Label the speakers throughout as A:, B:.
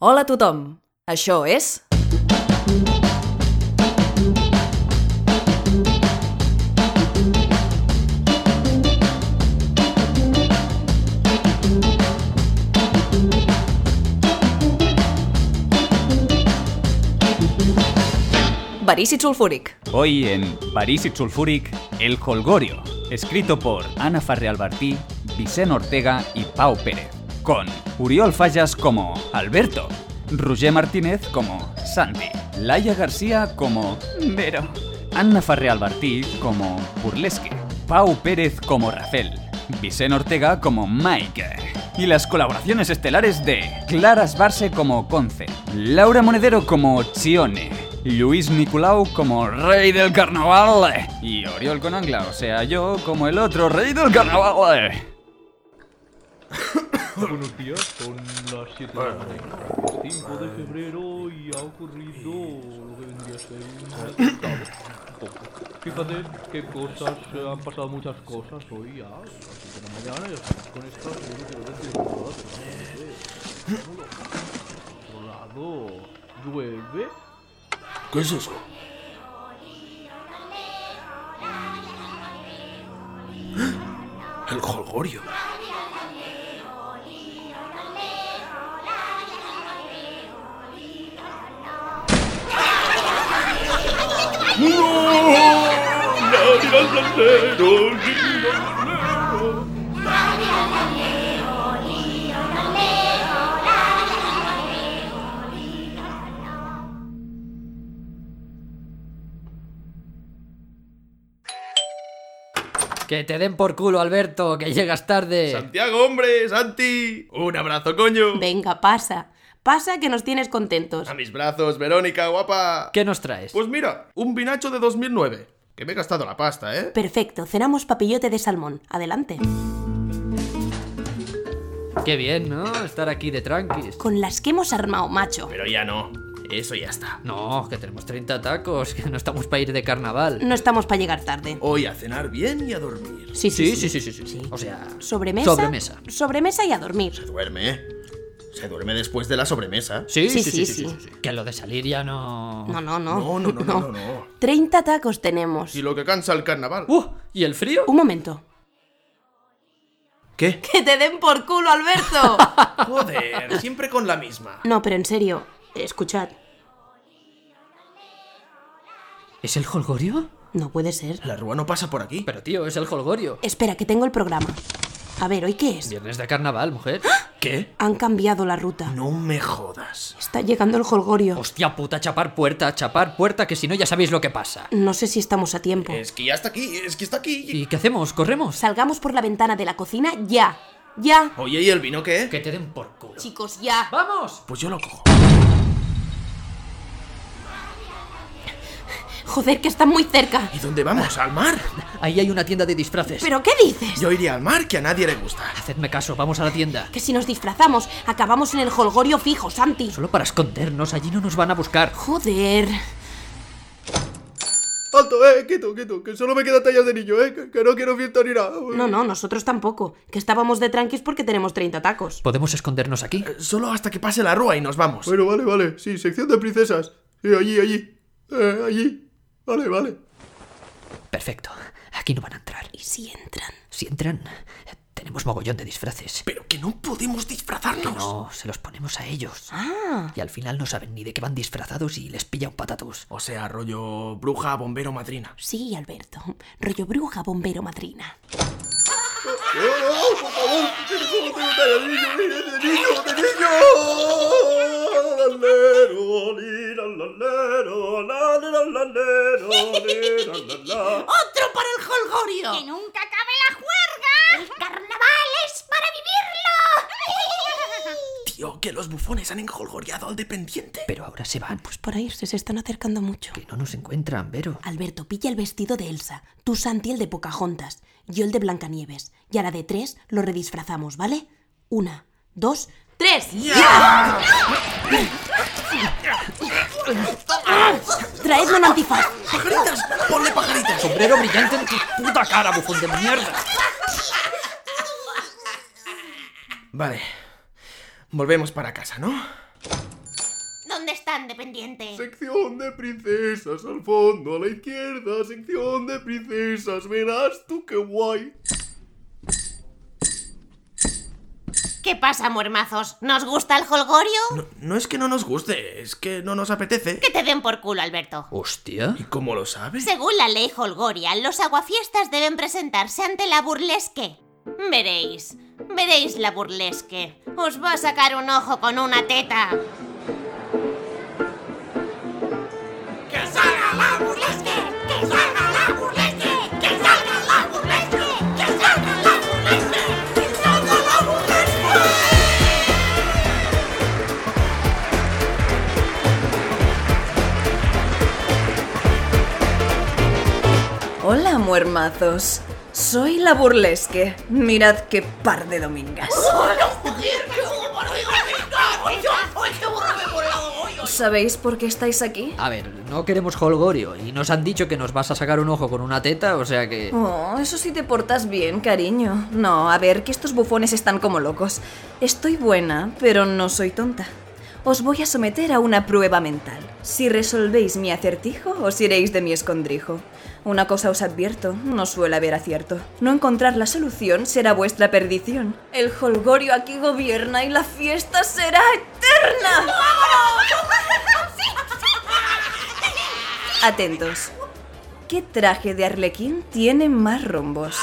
A: Hola a tothom! Això és... Verícid sulfúric.
B: Hoy en Parísit Sulfúric, El Colgorio, escrito por Ana Farre Albertí, Vicent Ortega y Pau Pérez, con Uriol Fallas como Alberto, Roger Martínez como Santi, Laia García como Vero, Ana Farre Albertí como Burlesque, Pau Pérez como Rafael, Vicent Ortega como Mike, y las colaboraciones estelares de Claras Barce como Conce, Laura Monedero como Chione, Luis Nicolau como Rey del Carnaval y Oriol Conangla, o sea, yo como el otro Rey del Carnaval.
C: Buenos días, son las 7 de la mañana. 5 de febrero y ha ocurrido lo que vendría a ser un atentado. Fíjate qué cosas, eh, han pasado muchas cosas hoy ya, a las 7 de la mañana y estamos con esta serie que no tiene nada, pero no lo sé. Por otro lado, llueve.
D: ¿Qué es eso? El jolgorio.
E: Que te den por culo, Alberto, que llegas tarde.
F: Santiago, hombre, Santi. Un abrazo, coño.
G: Venga, pasa. Pasa que nos tienes contentos.
F: A mis brazos, Verónica, guapa.
E: ¿Qué nos traes?
F: Pues mira, un vinacho de 2009. Que me he gastado la pasta, ¿eh?
G: Perfecto, cenamos papillote de salmón. Adelante.
E: Qué bien, ¿no? Estar aquí de tranquis.
G: Con las que hemos armado, macho.
F: Pero ya no. Eso ya está.
E: No, que tenemos 30 tacos, que no estamos para ir de carnaval.
G: No estamos para llegar tarde.
F: Hoy a cenar bien y a dormir.
G: Sí, sí, sí.
E: sí, sí, sí, sí. O sea,
G: Sobremesa.
E: Sobremesa.
G: Sobremesa y a dormir.
F: Se duerme, ¿eh? Se duerme después de la sobremesa.
E: sí sí
G: Sí,
E: sí sí,
G: sí,
E: sí,
G: sí.
E: sí, sí. Que lo de salir ya no.
G: No, no,
F: No,
G: no.
F: no, no, no, no, no.
G: 30 tacos tenemos.
F: Y lo que cansa el carnaval.
E: ¡Uh! ¿Y el frío?
G: Un momento.
F: ¿Qué?
G: ¡Que te den por culo, Alberto!
F: Joder, siempre con la misma.
G: no, pero en serio, escuchad.
E: ¿Es el holgorio?
G: No puede ser.
F: La rúa no pasa por aquí.
E: Pero tío, es el holgorio.
G: Espera, que tengo el programa. A ver, ¿hoy qué es? ¡Ah!
E: Viernes de carnaval, mujer.
F: ¿Qué?
G: Han cambiado la ruta.
F: No me jodas.
G: Está llegando el jolgorio.
E: Hostia puta, chapar puerta, chapar puerta, que si no ya sabéis lo que pasa.
G: No sé si estamos a tiempo.
F: Es que ya está aquí, es que está aquí.
E: ¿Y qué hacemos? ¿Corremos?
G: Salgamos por la ventana de la cocina ya. Ya.
F: Oye, ¿y el vino qué?
E: Que te den por culo.
G: Chicos, ya.
E: ¡Vamos!
F: Pues yo lo cojo.
G: Joder, que están muy cerca.
F: ¿Y dónde vamos? ¿Al mar?
E: Ahí hay una tienda de disfraces.
G: ¿Pero qué dices?
F: Yo iría al mar que a nadie le gusta.
E: Hacedme caso, vamos a la tienda.
G: Que si nos disfrazamos, acabamos en el jolgorio fijo, Santi.
E: Solo para escondernos, allí no nos van a buscar.
G: Joder.
F: ¡Alto, eh! Quieto, quieto, que solo me queda tallas de niño, eh, que, que no quiero fiesta ni nada.
G: No, no, nosotros tampoco. Que estábamos de tranquis porque tenemos 30 tacos.
E: ¿Podemos escondernos aquí?
F: Solo hasta que pase la rúa Eh, y nos vamos.
H: Bueno, vale, vale. Sí, sección de princesas. Sí, allí, allí. Eh, allí. Vale, vale.
E: Perfecto. Aquí no van a entrar.
G: ¿Y si entran?
E: Si entran, tenemos mogollón de disfraces.
F: Pero que no podemos disfrazarnos.
E: No, se los ponemos a ellos.
G: Ah.
E: Y al final no saben ni de qué van disfrazados y les pilla un patatus.
F: O sea, rollo bruja, bombero, madrina.
G: Sí, Alberto. Rollo bruja, bombero, madrina.
H: ¡Oh, por favor! ¡Que solo tengo tallas de niño! ¡De niño, de niño! Lalero, li, la, lalero, la, li, la, lalero, li, la, la, la.
G: ¡Otro para el jolgorio!
I: ¡Que nunca acabe la juerga! ¡El carnaval es para vivirlo!
F: Tío, que los bufones han enjolgoreado al dependiente.
E: Pero ahora se van. Pues
G: Pues por ahí se están acercando mucho.
E: que no nos encuentran, Vero.
G: Alberto, pilla el vestido de Elsa, tú Santi el de Pocahontas, yo el de Blancanieves. Y a la de tres lo redisfrazamos, ¿vale? Una, dos, tres. Traedme un antifaz.
F: ¡Pajaritas! ¡Ponle pajaritas!
E: Sombrero brillante en tu puta cara, bufón de mierda.
F: Vale. Volvemos para casa, ¿no?
J: dónde están, dependiente?
F: Sección de princesas al fondo a la izquierda, sección de princesas, verás tú qué guay.
J: ¿Qué pasa, muermazos? ¿Nos gusta el holgorio?
K: No, no es que no nos guste, es que no nos apetece.
J: Que te den por culo, Alberto.
E: Hostia.
K: ¿Y cómo lo sabes?
J: Según la ley holgoria, los aguafiestas deben presentarse ante la burlesque. Veréis, veréis la burlesque. Os va a sacar un ojo con una teta. ¡Que salga la burlesque! ¡Que salga la burlesque! ¡Que salga la burlesque! ¡Que salga la burlesque! ¡Que salga la burlesque!
A: Hola, muermazos. Soy la burlesque. Mirad qué par de domingas. ¿Sabéis por qué estáis aquí?
E: A ver, no queremos holgorio y nos han dicho que nos vas a sacar un ojo con una teta, o sea que...
A: Oh, eso sí te portas bien, cariño. No, a ver, que estos bufones están como locos. Estoy buena, pero no soy tonta. Os voy a someter a una prueba mental. Si resolvéis mi acertijo, os iréis de mi escondrijo. Una cosa os advierto, no suele haber acierto. No encontrar la solución será vuestra perdición. El holgorio aquí gobierna y la fiesta será eterna. Atentos. ¿Qué traje de arlequín tiene más rombos?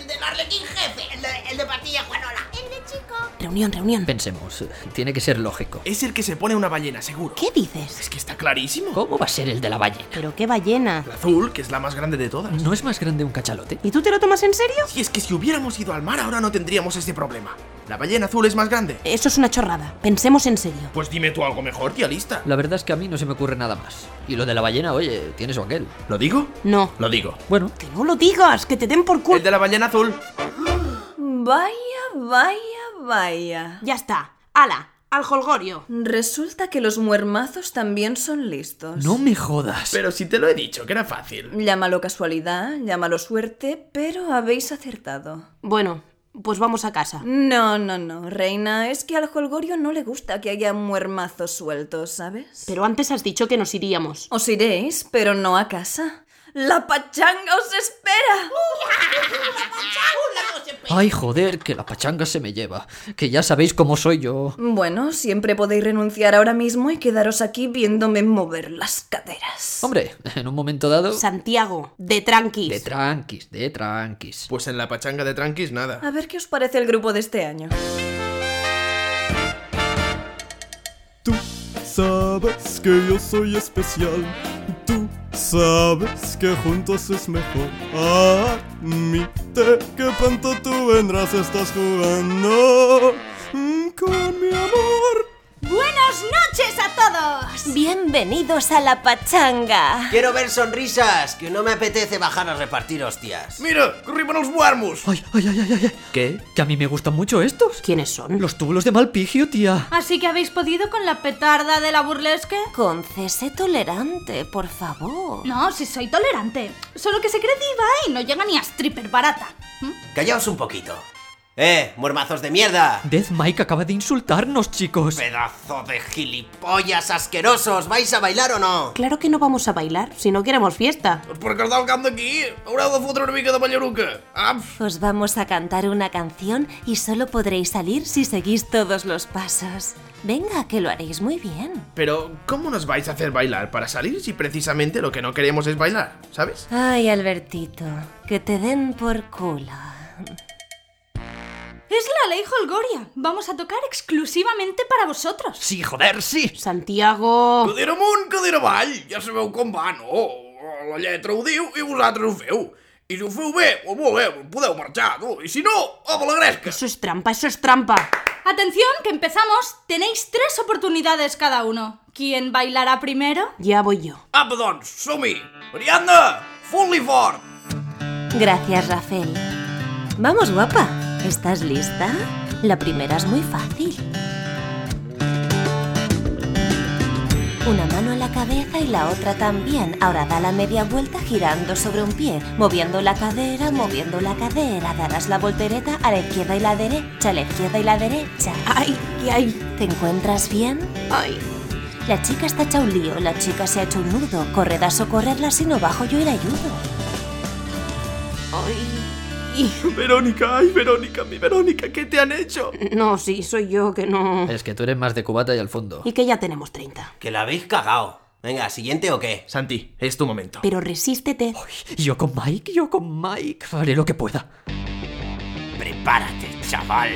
J: El del Arlequín jefe, el de, el de Patilla Juanola. El de Chico.
I: Reunión, reunión.
E: Pensemos, tiene que ser lógico.
K: Es el que se pone una ballena, seguro.
I: ¿Qué dices?
K: Es que está clarísimo.
E: ¿Cómo va a ser el de la ballena?
I: Pero qué ballena.
K: La azul, que es la más grande de todas.
E: ¿No es más grande un cachalote?
I: ¿Y tú te lo tomas en serio?
K: Si es que si hubiéramos ido al mar ahora no tendríamos este problema. La ballena azul es más grande.
I: Eso es una chorrada. Pensemos en serio.
K: Pues dime tú algo mejor, tía lista.
E: La verdad es que a mí no se me ocurre nada más. Y lo de la ballena, oye, tiene su aquel.
K: ¿Lo digo?
I: No.
K: Lo digo.
E: Bueno,
I: Que no lo digas, que te den por
K: El
I: culo.
K: de la ballena azul.
A: Vaya, vaya, vaya.
I: Ya está. Ala, al holgorio.
A: Resulta que los muermazos también son listos.
E: no me jodas.
K: Pero si te lo he dicho, que era fácil.
A: Llámalo casualidad, llámalo suerte, pero habéis acertado.
I: Bueno, pues vamos a casa.
A: No, no, no, reina, es que al holgorio no le gusta que haya muermazos sueltos, ¿sabes?
I: Pero antes has dicho que nos iríamos.
A: Os iréis, pero no a casa. ¡La pachanga os espera!
E: Ay, joder, que la pachanga se me lleva. Que ya sabéis cómo soy yo.
A: Bueno, siempre podéis renunciar ahora mismo y quedaros aquí viéndome mover las caderas.
E: Hombre, en un momento dado...
I: Santiago, de tranquis.
E: De tranquis, de tranquis.
K: Pues en la pachanga de tranquis nada.
A: A ver qué os parece el grupo de este año.
L: Tú sabes que yo soy especial. Tú sabes que juntos es mejor. Admite que pronto tú vendrás, estás jugando mm, con mi amor.
J: Buenas noches a todos. Bienvenidos a la pachanga.
M: Ah. Quiero ver sonrisas, que no me apetece bajar a repartir hostias.
K: Mira, corrimos los warmus.
E: Ay, ay, ay, ay, ay, ay. ¿Qué? Que a mí me gustan mucho estos.
I: ¿Quiénes son?
E: Los túbulos de Malpigio, tía.
J: Así que habéis podido con la petarda de la burlesque.
I: Concese tolerante, por favor.
J: No, si soy tolerante. Solo que se cree diva y no llega ni a stripper barata.
M: Callaos un poquito. ¡Eh, muermazos de mierda!
E: Death Mike acaba de insultarnos, chicos.
M: ¡Pedazo de gilipollas asquerosos! ¿Vais a bailar o no?
I: Claro que no vamos a bailar si no queremos fiesta.
K: Pues per què el cant d'aquí? Haureu de fotre una mica de Ah, ballaruca. Am!
I: Os vamos a cantar una canción y solo podréis salir si seguís todos los pasos. Venga, que lo haréis muy bien.
K: Pero, ¿cómo nos vais a hacer bailar para salir si precisamente lo que no queremos es bailar? ¿Sabes?
I: Ay, Albertito, que te den por culo.
J: Es la ley Holgoria. Vamos a tocar exclusivamente para vosotros.
E: Sí, joder, sí.
I: Santiago.
K: Cadira amunt, cadira avall! Ja sabeu com va, no? La lletra ho diu i vosaltres ho feu. I si ho feu bé, o molt bé, podeu marxar, no? I si no, a la gresca!
I: Eso es trampa, eso es trampa.
J: Atención, que empezamos. Tenéis tres oportunidades cada uno. ¿Quién bailará primero?
I: Ya voy yo.
K: Apa, doncs, som-hi! Ariadna, fot-li fort!
I: Gracias, Rafael. Vamos, guapa. ¿Estás lista? La primera es muy fácil. Una mano a la cabeza y la otra también. Ahora da la media vuelta girando sobre un pie, moviendo la cadera, moviendo la cadera. Darás la voltereta a la izquierda y la derecha, a la izquierda y la derecha. ¡Ay, ay! ¿Te encuentras bien? ¡Ay!
G: La chica está hecha un lío, la chica se ha hecho un nudo. Corred a socorrerla, si no bajo yo y la ayudo.
N: Verónica, ay, Verónica, mi Verónica, ¿qué te han hecho?
O: No, sí, soy yo que no.
E: Es que tú eres más de cubata y al fondo.
O: Y que ya tenemos 30.
K: Que la habéis cagado. Venga, ¿siguiente o qué?
N: Santi, es tu momento.
O: Pero resístete.
E: Yo con Mike, yo con Mike. Haré lo que pueda.
K: Prepárate, chaval.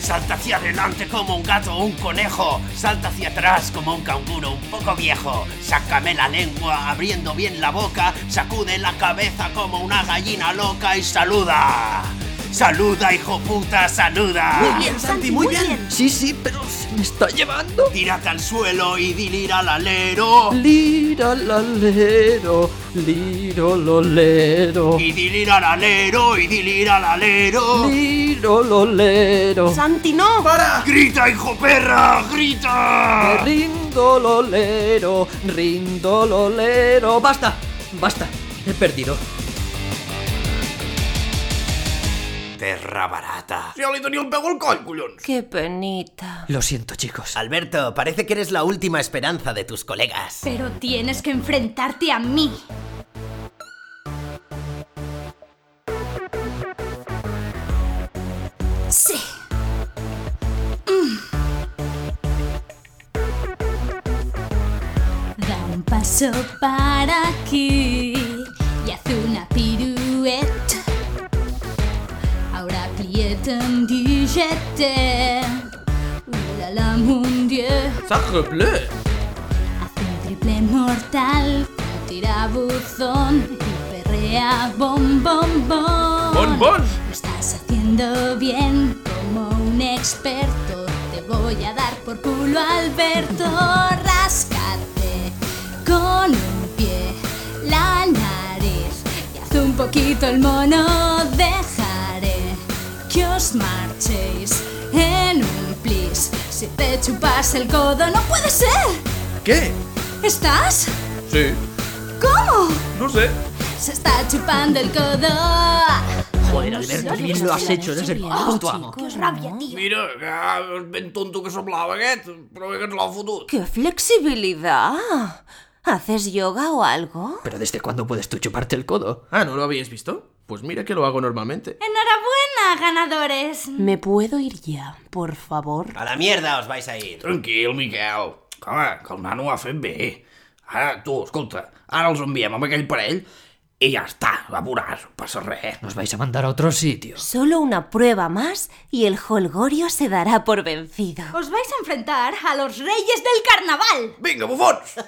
K: Salta hacia adelante como un gato o un conejo. Salta hacia atrás como un canguro un poco viejo. Sácame la lengua abriendo bien la boca. Sacude la cabeza como una gallina loca y saluda. Saluda, hijo puta, saluda.
I: Muy bien, Santi, muy bien.
K: Sí, sí, pero se me está llevando. Tírate al suelo y di lira al alero.
E: Lira lalero, liro lolero.
K: Y di lira al alero, y di lira al alero.
E: Liro lolero.
O: Santi, no.
K: Para. Grita, hijo perra, grita.
E: Me rindo lolero, rindo lolero. Basta, basta. He perdido.
K: Perra barata.
D: Si jo li tenia un peu al coll, collons.
G: Qué penita.
E: Lo siento, chicos.
K: Alberto, parece que eres la última esperanza de tus colegas.
J: Pero tienes que enfrentarte a mí. Sí. Mm. Da un paso para aquí y haz una pirueta. Ahora aprieta un billete. Uh, la la, mon Dieu.
N: Sacre bleu.
J: triple mortal, tira buzón y perrea bom bom bom.
N: Bon, bon.
J: Lo estás haciendo bien como un experto. Te voy a dar por culo, Alberto. Rascate con un pie la nariz y haz un poquito el mono. Dejaré que os marchéis en un plis. Si te chupas el codo, no puede ser.
N: ¿Qué?
J: ¿Estás?
N: Sí.
J: ¿Cómo?
N: No sé.
J: Se está chupando el codo.
E: Joder, Alberto, qué bien lo has hecho. Eres el puto amo.
J: Oh, Qué rabia, tío.
D: Mira, que és ben tonto que semblava aquest, però bé que ens l'ha fotut.
G: ¡Qué flexibilidad! ¿Haces yoga o algo?
E: ¿Pero desde cuándo puedes tú chuparte el codo?
N: Ah, ¿no lo habíais visto? Pues mira que lo hago normalmente.
J: Enhorabuena, ganadores.
G: ¿Me puedo ir ya, por favor?
K: A la mierda os vais a ir.
D: Tranquil, Miquel. Home, que el nano ho ha fet bé. Ara, tu, escolta, ara els enviem amb aquell parell i ja està, va veuràs, no passa res.
E: Nos vais a mandar a otro sitio.
G: Solo una prueba más y el holgorio se dará por vencido.
J: Os vais a enfrentar a los reyes del carnaval.
D: Vinga, bufons!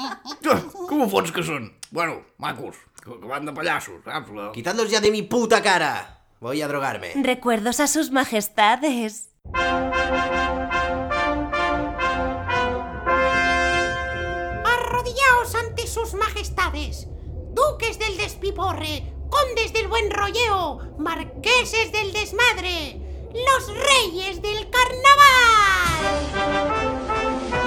D: Ah, que bufons que són. Bueno, macos, que que van de pallassos, saps? La...
K: Quitadlos ya de mi puta cara. Voy a drogarme.
G: Recuerdos a sus majestades.
P: Arrodillaos ante sus majestades, duques del despiporre, condes del buen rolleo, marqueses del desmadre, los reyes del carnaval.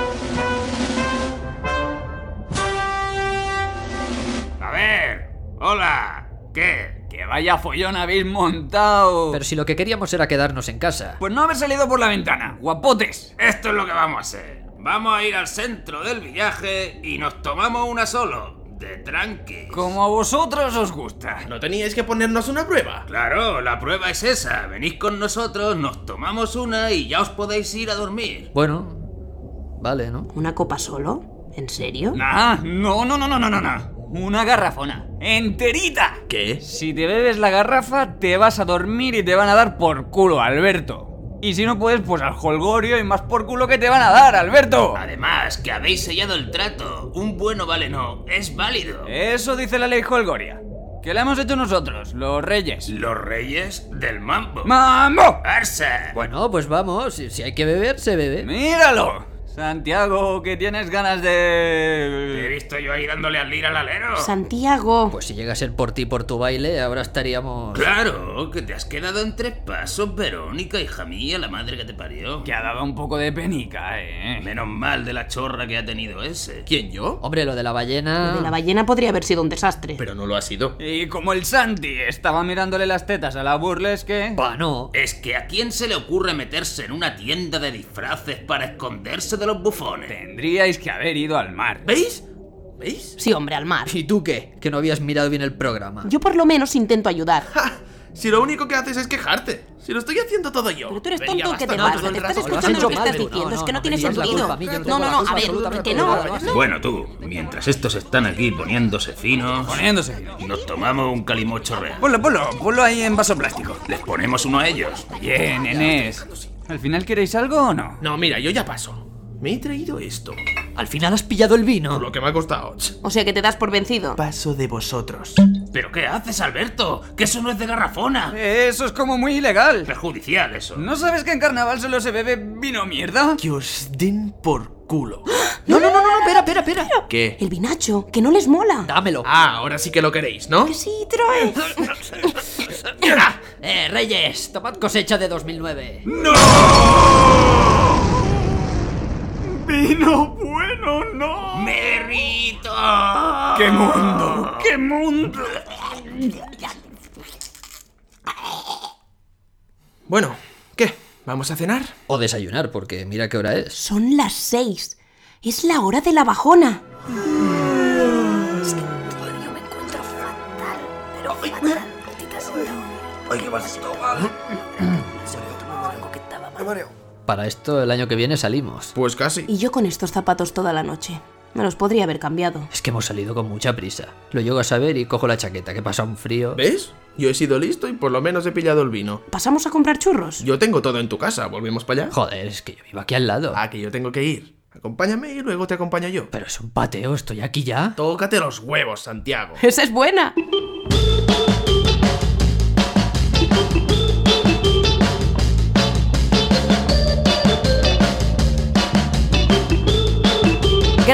D: A ver, hola, ¿qué?
B: ¡Que vaya follón habéis montado!
E: Pero si lo que queríamos era quedarnos en casa.
B: Pues no haber salido por la ventana, guapotes.
Q: Esto es lo que vamos a hacer. Vamos a ir al centro del viaje y nos tomamos una solo, de tranqui.
B: Como a vosotros os gusta.
N: ¿No teníais que ponernos una prueba?
Q: Claro, la prueba es esa. Venís con nosotros, nos tomamos una y ya os podéis ir a dormir.
E: Bueno, vale, ¿no?
O: ¿Una copa solo? ¿En serio?
B: Nah, no, no, no, no, no, no, no. Una garrafona. ¡Enterita!
N: ¿Qué?
B: Si te bebes la garrafa, te vas a dormir y te van a dar por culo, Alberto. Y si no puedes, pues al holgorio y más por culo que te van a dar, Alberto.
Q: Además, que habéis sellado el trato. Un bueno vale no, es válido.
B: Eso dice la ley holgoria. Que la hemos hecho nosotros, los reyes.
Q: Los reyes del mambo.
B: ¡Mambo!
Q: ¡Arsa!
E: Bueno, pues vamos. Si, si hay que beber, se bebe.
B: ¡Míralo! Santiago, que tienes ganas de...
Q: Te he visto yo ahí dándole al lira al alero.
G: Santiago.
K: Pues si llega a ser por ti, por tu baile, ahora estaríamos...
Q: Claro, que te has quedado en tres pasos, Verónica, hija mía, la madre que te parió. Que ha dado un poco de penica, eh. Menos mal de la chorra que ha tenido ese.
K: ¿Quién, yo? Hombre, lo de la ballena...
G: Lo de la ballena podría haber sido un desastre.
Q: Pero no lo ha sido.
B: Y como el Santi estaba mirándole las tetas a la burlesque...
K: Bah, no.
Q: Es que a quién se le ocurre meterse en una tienda de disfraces para esconderse de los bufones.
B: Tendríais que haber ido al mar.
Q: ¿Veis? ¿Veis?
G: Sí, hombre, al mar.
K: ¿Y tú qué? Que no habías mirado bien el programa.
G: Yo por lo menos intento ayudar.
E: Si lo único que haces es quejarte. Si lo estoy haciendo todo yo.
G: Pero tú eres
E: Venía
G: tonto, ¿qué te
E: bastante todo
G: pasa?
E: el
G: Te estás
E: rato.
G: escuchando lo que estás diciendo. Es que no tiene sentido. No, no, no, a ver, que no.
Q: Bueno, tú, mientras estos están aquí poniéndose finos.
B: Poniéndose finos.
Q: Nos tomamos un calimocho real.
B: Ponlo, ponlo, ponlo ahí en vaso plástico.
Q: Les ponemos uno a ellos.
B: Bien, Enés. ¿Al final queréis algo o no?
E: No, mira, yo ya paso. Me he traído esto.
K: Al final has pillado el vino.
E: Por lo que me ha costado. Ch.
G: O sea que te das por vencido.
E: Paso de vosotros.
Q: ¿Pero qué haces, Alberto? Que eso no es de garrafona.
B: Eso es como muy ilegal.
Q: Perjudicial, eso.
B: ¿No sabes que en carnaval solo se bebe vino mierda?
E: Que os den por culo.
K: No, no, no, no, no, espera, espera, espera.
E: ¿Qué?
G: El vinacho, que no les mola.
K: Dámelo.
E: Ah, ahora sí que lo queréis, ¿no?
G: Que sí, trae.
K: Eh, Reyes, tomad cosecha de 2009.
E: ¡Vino bueno, no!
Q: ¡Merito!
B: ¡Qué mundo!
Q: ¡Qué mundo!
E: Bueno, ¿qué? ¿Vamos a cenar?
K: O desayunar, porque mira qué hora es.
G: Son las seis. Es la hora de la bajona.
K: Para esto el año que viene salimos.
E: Pues casi.
G: Y yo con estos zapatos toda la noche. Me los podría haber cambiado.
K: Es que hemos salido con mucha prisa. Lo llego a saber y cojo la chaqueta, que pasa un frío.
E: ¿Ves? Yo he sido listo y por lo menos he pillado el vino.
G: ¿Pasamos a comprar churros?
E: Yo tengo todo en tu casa, ¿volvemos para allá?
K: Joder, es que yo vivo aquí al lado.
E: Ah, que yo tengo que ir. Acompáñame y luego te acompaño yo.
K: Pero es un pateo, estoy aquí ya.
E: Tócate los huevos, Santiago.
G: Esa es buena.